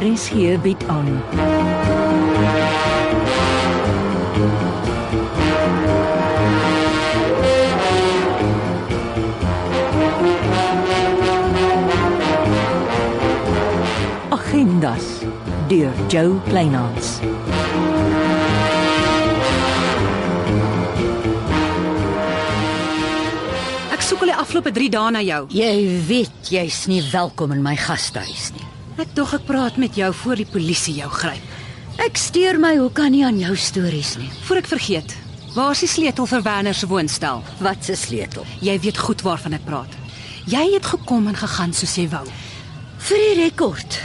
RSG bied aan. Agendas deur Jo Kleinhans. Ek soek al die afgelope 3 dae na jou. Jy weet jy's nie welkom in my gastehuis nie. Ek dog ek praat met jou voor die polisie jou gryp. Ek steur my hoekom nie aan jou stories nie. Voor ek vergeet, waar is die sleutel vir Werner se woonstel? Wat se sleutel? Jy weet goed waarvan ek praat. Jy het gekom en gegaan soos jy wou. Vir die rekord.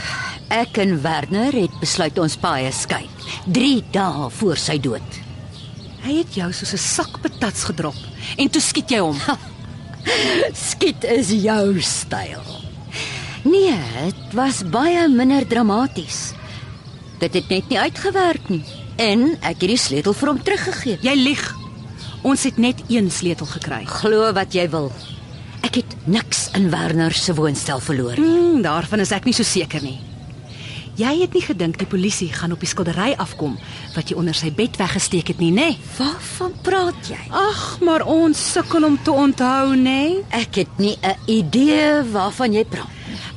Ek en Werner het besluit ons paai skei. 3 dae voor sy dood. Hy het jou soos 'n sak patats gedrop en toe skiet jy hom. Skiet is jou styl. Nee, dit was baie minder dramaties. Dit het net nie uitgewerk nie en ek het die sleutel vir hom teruggegee. Jy lieg. Ons het net een sleutel gekry. Glo wat jy wil. Ek het niks in Werner se woonstel verloor. Hmm, daarvan is ek nie so seker nie. Jy het nie gedink die polisie gaan op die skildery afkom wat jy onder sy bed weggesteek het nie, nê? Nee? Waarvan praat jy? Ag, maar ons sukkel om te onthou, nê? Nee? Ek het nie 'n idee waarvan jy praat.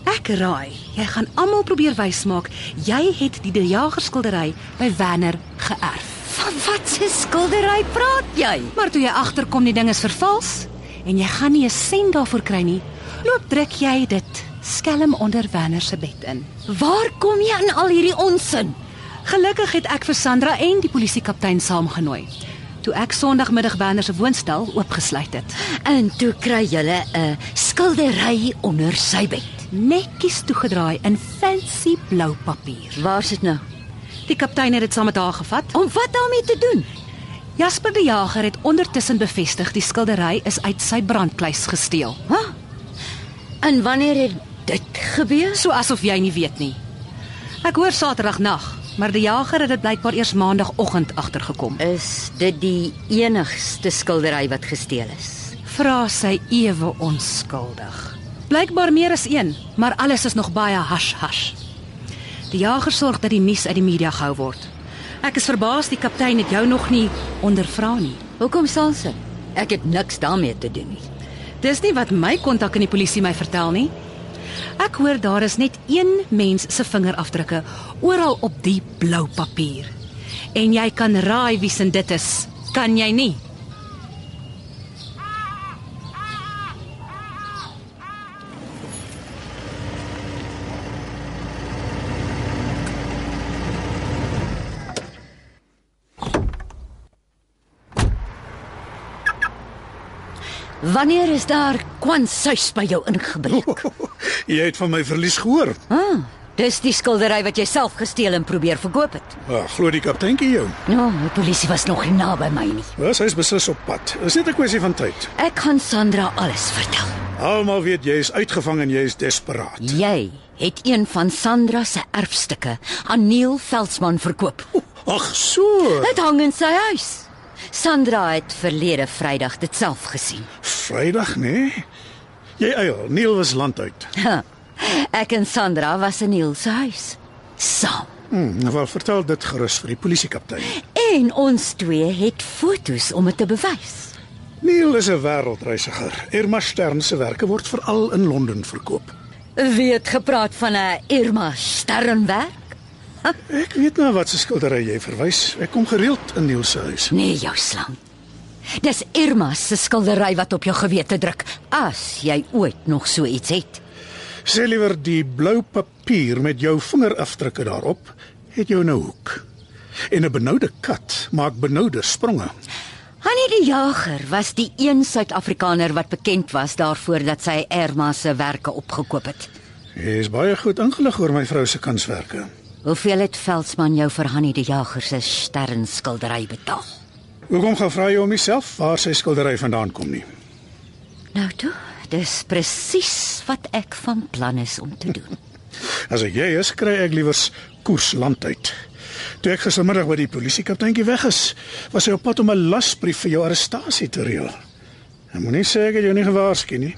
Ek raai, jy gaan almal probeer wys maak jy het die De Jager skildery by Werner geërf. Van wat se skildery praat jy? Maar toe jy agterkom die ding is vervals en jy gaan nie 'n sent daarvoor kry nie, loop druk jy dit skelm onder Werner se bed in. Waar kom jy aan al hierdie onsin? Gelukkig het ek vir Sandra en die polisiekaptein saamgenooi toe ek Sondagmiddag Werner se woonstel oopgesluit het. En toe kry jy 'n skildery onder sy bed. Netjies toegedraai in fancy blou papier. Waar's dit nou? Die kaptein het dit saam met haar gevat. Om wat daarmee te doen? Jasper die Jager het ondertussen bevestig die skildery is uit sy brandkluis gesteel. Hæ? En wanneer het dit gebeur? So asof jy nie weet nie. Ek hoor Saterdagnag, maar die jager het dit blykbaar eers maandagooggend agtergekom. Is dit die enigste skildery wat gesteel is? Vra sy ewe onskuldig. Blykbaar meer as een, maar alles is nog baie hash hash. Die jager sorg dat die nuus uit die media gehou word. Ek is verbaas die kaptein het jou nog nie ondervra nie. Hoekom sal sy? Ek het niks daarmee te doen nie. Dis nie wat my kontak in die polisie my vertel nie. Ek hoor daar is net een mens se vingerafdrukke oral op die blou papier. En jy kan raai wie se dit is. Kan jy nie? Wanneer is daar kwanshuis by jou Hm. ingebreek? Jy het van my verlies gehoor. Ah, dis die skildery wat jy self gesteel en probeer verkoop het. Ag, Ah, glo die kapteintjie jou. Ja, die polisie was nog nie naby my nie. Was hy's beslis op pad. Is net 'n kwessie van tyd. Ek gaan Sandra alles vertel. Almal weet jy is uitgevang en jy is desperaat. Jy het een van Sandra se erfstukke aan Neil Veldsmann verkoop. Ag, so. Dit hang in sy huis. Sandra het verlede Vrydag dit self gesien. Vrydag, nê? Jy eil, Neil was land uit. Ha, Ek en Sandra was in Neil se huis saam. Hm, nou wel vertel dit gerus vir die polisiekaptein. En ons twee het fotos om dit te bewys. Neil is 'n wêreldreisiger. Irma Stern se werke word veral in Londen verkoop. Wie het gepraat van 'n Irma Sternwerk? Ek weet nou wat se skildery jy verwys. Ek kom gereeld in Neil se huis. Nee, jou slang. Dis Irma se skildery wat op jou gewete druk, as jy ooit nog so iets het. Sê liewer die blou papier met jou vingerafdrukke daarop het jou nou hoek. En 'n benoude kat maak benoude spronge. Hannie die Jager was die een Suid-Afrikaner wat bekend was daarvoor dat sy Irma se werke opgekoop het. Jy is baie goed ingelig oor my vrou se kunswerke. Hoeveel het Veldsmann jou vir Hannie die Jager se sternskildery betaal? Hoekom gaan vra jy om myself waar sy skildery vandaan kom nie? Nou toe, dis presies wat ek van plan is om te doen. As ek jy is, kry ek liewers koers land uit. Toe ek gistermiddag by die polisiekapteintjie weg is, was hy op pad om 'n lasbrief vir jou arrestasie te reël. Hy moenie sê ek het jou nie gewaarsku nie.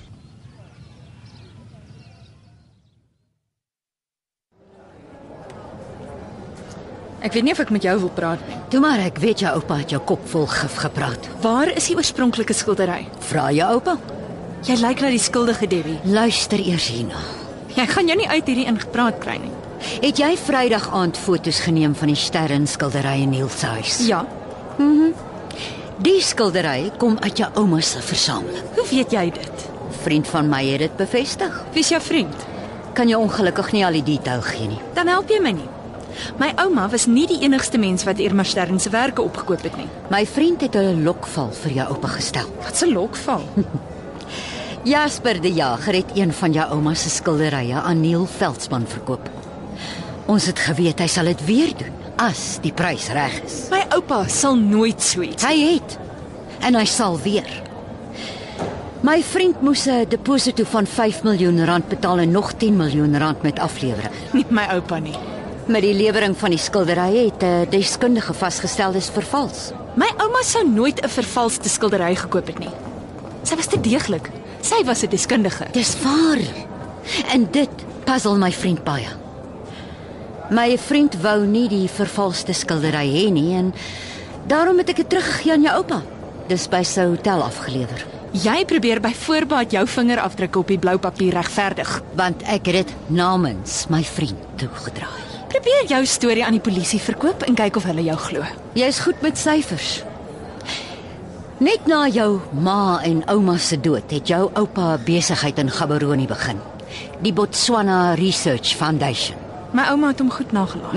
Ek weet nie of ek met jou wil praat nie. Toe maar ek weet jou oupa het jou kop vol gif gepraat. Waar is die oorspronklike skildery? Vra jou oupa. Jy lyk na die skuldige Debbie. Luister eers hierna. Ja, Ek gaan jou nie uit hierdie ingepraat kry nie. Het jy Vrydag aand foto's geneem van die sterre en skilderye in Niels se huis? Ja, Die skildery kom uit jou ouma se versameling. hoe weet jy dit? Vriend van my het dit bevestig. Wie is jou vriend? Kan jou ongelukkig nie al die detail gee nie. Dan help jy my nie. My ouma was nie die enigste mens wat Irma Stern se werke opgekoop het nie. My vriend het 'n lokval vir jou oupa gestel. Wat 'n lokval. Jasper die Jager het een van jou ouma se skilderye aan Neil Veldsmann verkoop. Ons het geweet hy sal dit weer doen as die prys reg is. My oupa sal nooit so iets. Hy het en hy sal weer. My vriend moes 'n deposito van 5 miljoen rand betaal en nog 10 miljoen rand met aflewering. Nie my oupa nie. Met die lewering van die skilderye het 'n deskundige vasgestel dis vervals. My ouma sou nooit 'n vervalste skildery gekoop het nie. Sy was te deeglik. Sy was 'n deskundige. Dis waar. En dit puzzel my vriend baie. My vriend wou nie die vervalste skildery hê nie en daarom het ek dit teruggegee aan jou oupa. Dis by sy hotel afgelewer, Jy probeer by voorbaat jou vingerafdrukke op die blou papier regverdig. want ek het dit namens my vriend toegedraai. Probeer jou storie aan die polisie verkoop en kyk of hulle jou glo. Jy's goed met syfers. Net na jou ma en ouma se dood het jou oupa 'n besigheid in Gaborone begin. Die Botswana Research Foundation. My ouma het hom goed nagelaat.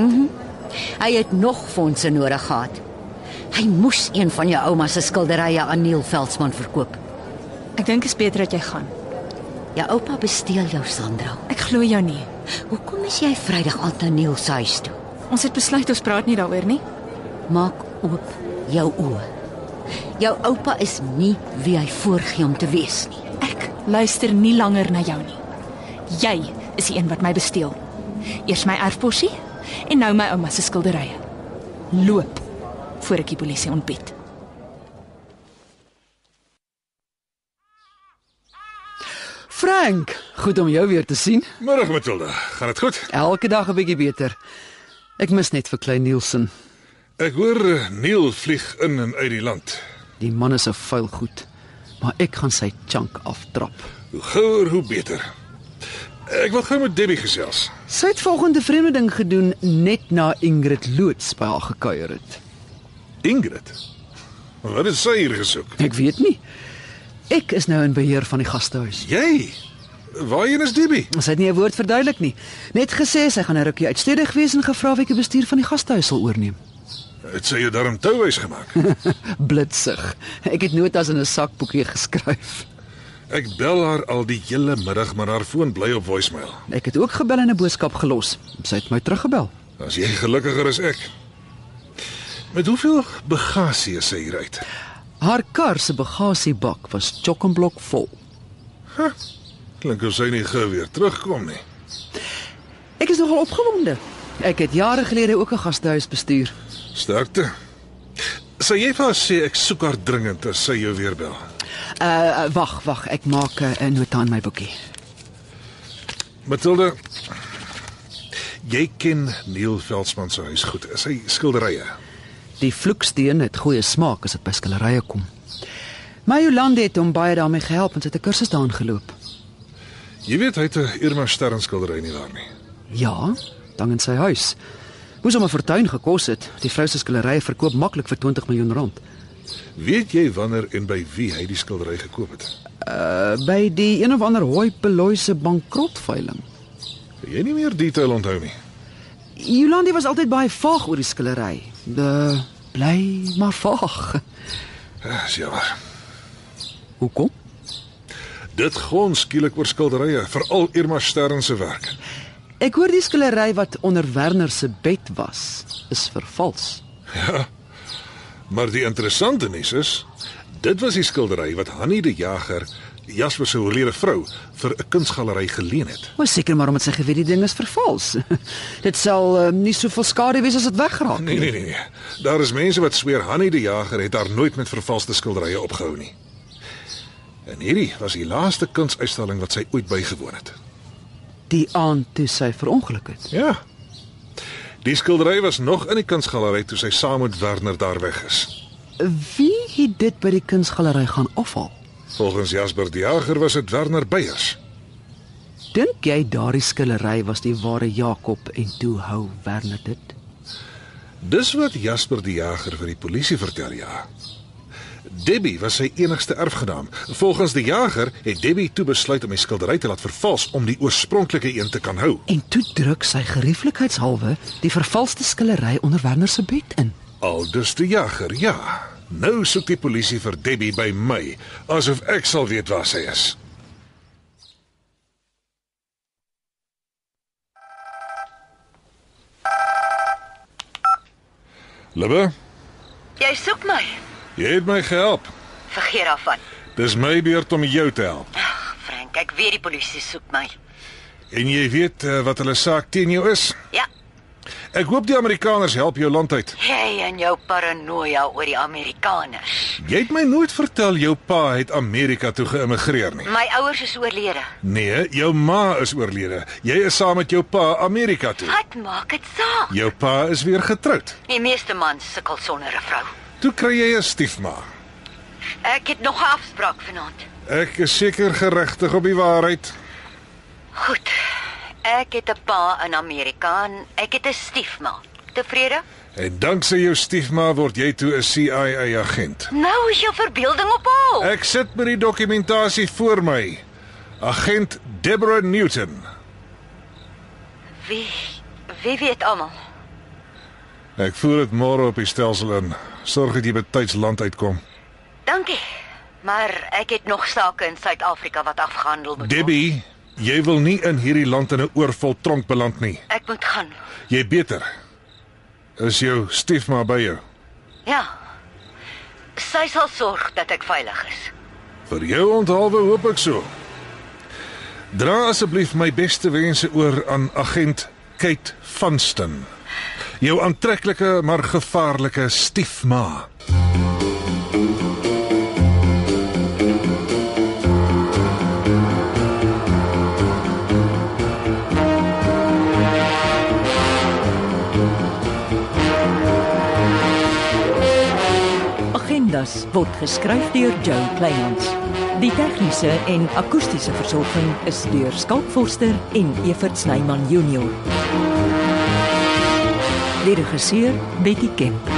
Hy het nog fondse nodig gehad. Hy moes een van jou ouma se skilderye aan Neil Veldsmann verkoop. Ek dink dit is beter dat jy gaan. Jou oupa besteel jou Sandra. Ek glo jou nie. Hoekom is jy Vrydag aand na Neil se huis toe? Ons het besluit ons praat nie daaroor nie. Maak oop jou oë. Jou oupa is nie wie hy voorgee om te wees nie. Ek luister nie langer na jou nie. Jy is die een wat my besteel. Eers my erfposie en nou my ouma se skilderye. Loop voor ek die polisie ontbied. Frank, goed om jou weer te sien. Middag Matilda, gaan dit goed? Elke dag 'n bietjie beter. Ek mis net vir Klein Nielsen. Ek hoor eh, Neil vlieg in en uit die land. Die man is 'n vuil goed, maar ek gaan sy chunk aftrap. Hoe gouer hoe beter. Ek wil gou met Debbie gesels. Sy het volgende vreemde ding gedoen net na Ingrid loods by haar gekuier het. Ingrid. Wat het sy hier gesoek? Ek weet nie. Ek is nou in beheer van die gastehuis. Jy. Waarheen is Debbie? Sy het nie 'n woord verduidelik nie. Net gesê sy gaan 'n rukkie uitstedig wees en gevra wie die bestuur van die gastehuis sal oorneem. Het sy jou darm touwys gemaak? Blitsig. Ek het notas in 'n sakboekie geskryf. Ek bel haar al die hele middag, maar haar foon bly op voicemail. Ek het ook gebel en 'n boodskap gelos. Sy het my teruggebel. As jy gelukkiger is ek. Met hoeveel bagasie is sy hier uit? Haar kar se bagasiebak was chokkenblok vol. Klink of sy nie gou weer terugkom nie. Ek is nogal opgewonde. Ek het jare gelede ook 'n gastehuis bestuur. Sterkte. Sou jy vir haar sê ek soek haar dringend as sy jou weer bel? Uh uh, wag, wag, ek maak eh, 'n nota in my boekie. Matilda, jy ken Neil Veldsmann se huis goed. Sy skilderye. Die vloeksteen het goeie smaak as dit by skillerye kom. My Jolande het hom baie daarmee gehelp en sy het 'n kursus daarin geloop. Jy weet hy het 'n Irma Stern skildery nie daar nie. Ja, dan in sy huis. Moes hom 'n fortuin gekos het. Die vrou se skillerye verkoop maklik vir 20 miljoen rand. Weet jy wanneer en by wie hy die skildery gekoop het? Uh by die een of ander hooi Beloy se bankrotveiling. Kan Jy nie meer detail onthou nie. Jolandi was altyd baie vaag oor die skillery. De bly maar vaag. Dis Ah, jammer. Hoekom? Dit gons skielik oor skilderye, veral Irma Stern se werk. Ek hoor die skillery wat onder Werner se bed was, is vervals. Maar die interessante nuus is, dit was die skildery wat Hannie die Jager, Jasper se oorlede vrou, vir 'n kunsgalery geleen het. Maar seker maar omdat sy geweet die ding is vervals. dit sal uh, nie soveel skade wees as dit weggeraak Nee nee nee nee. Daar is mense wat sweer Hannie die Jager het haar nooit met vervalste skilderye opgehou nie. En hierdie was die laaste kunsuitstalling wat sy ooit bygewoon het. Die aand toe sy verongeluk het. Ja. Die skildery was nog in die kunsgalery toe sy saam met Werner daar weg is. Wie het dit by die kunsgalery gaan afhaal? Volgens Jasper die Jager was dit Werner Beyers. Dink jy daardie skillery was die ware Jakob en toe hou Werner dit? Dis wat Jasper die Jager vir die polisie vertel, ja. Debbie was sy enigste erfgenaam. Volgens die Jager het Debbie toe besluit om die skildery te laat vervals om die oorspronklike een te kan hou. En toe druk sy gerieflikheidshalwe die vervalste skillery onder Werner se bed in. Aldus die Jager, ja. Nou soek die polisie vir Debbie by my, asof ek sal weet waar sy is. Libbe, Jy soek my. jy het my gehelp. Vergeet daarvan. Dis my beurt om jou te help. Frank, ek weet die polisie soek my. En jy weet eh, wat hulle saak teen jou is. Ja, Ek hoop die Amerikaners help jou land uit. jy en jou paranoia oor die Amerikaners. Jy het my nooit vertel jou pa het Amerika toe geëmigreer nie. My ouers is oorlede. Nee, jou ma is oorlede. Jy is saam met jou pa Amerika toe. Wat maak dit saak? Jou pa is weer getroud. Die meeste mans sukkel sonder 'n vrou. Toe kry jy 'n stiefma. Ek het nog 'n afspraak vanaand. Ek is seker geregtig op die waarheid. Goed. Ek het 'n pa in Amerika en ek het 'n stiefma. Tevrede? En danksy jou stiefma word jy toe 'n CIA agent. Nou is jou verbeelding op hol. Ek sit met die dokumentasie voor my. Agent Deborah Newton. Wie wie weet almal. Ek voer dit môre op die stelsel in. Sorg dat jy betyds land uitkom. Dankie. Maar ek het nog sake in Suid-Afrika wat afgehandel moet word. Debbie, jy wil nie in hierdie land in 'n oorvol tronk beland nie. Ek moet gaan. Jy beter. Is jou stiefma by jou? Ja. Sy sal sorg dat ek veilig is. Vir jou onthaalwe hoop ek so. Dra asseblief my beste wense oor aan agent Kate Vanston. Jou aantreklike maar gevaarlike stiefma. Agendas word geskryf deur Joe Kleinhans. Die tegniese en akoestiese versorging is deur Skalk Forster en Evert Snyman Junior. Die regisseur Betty Kemp.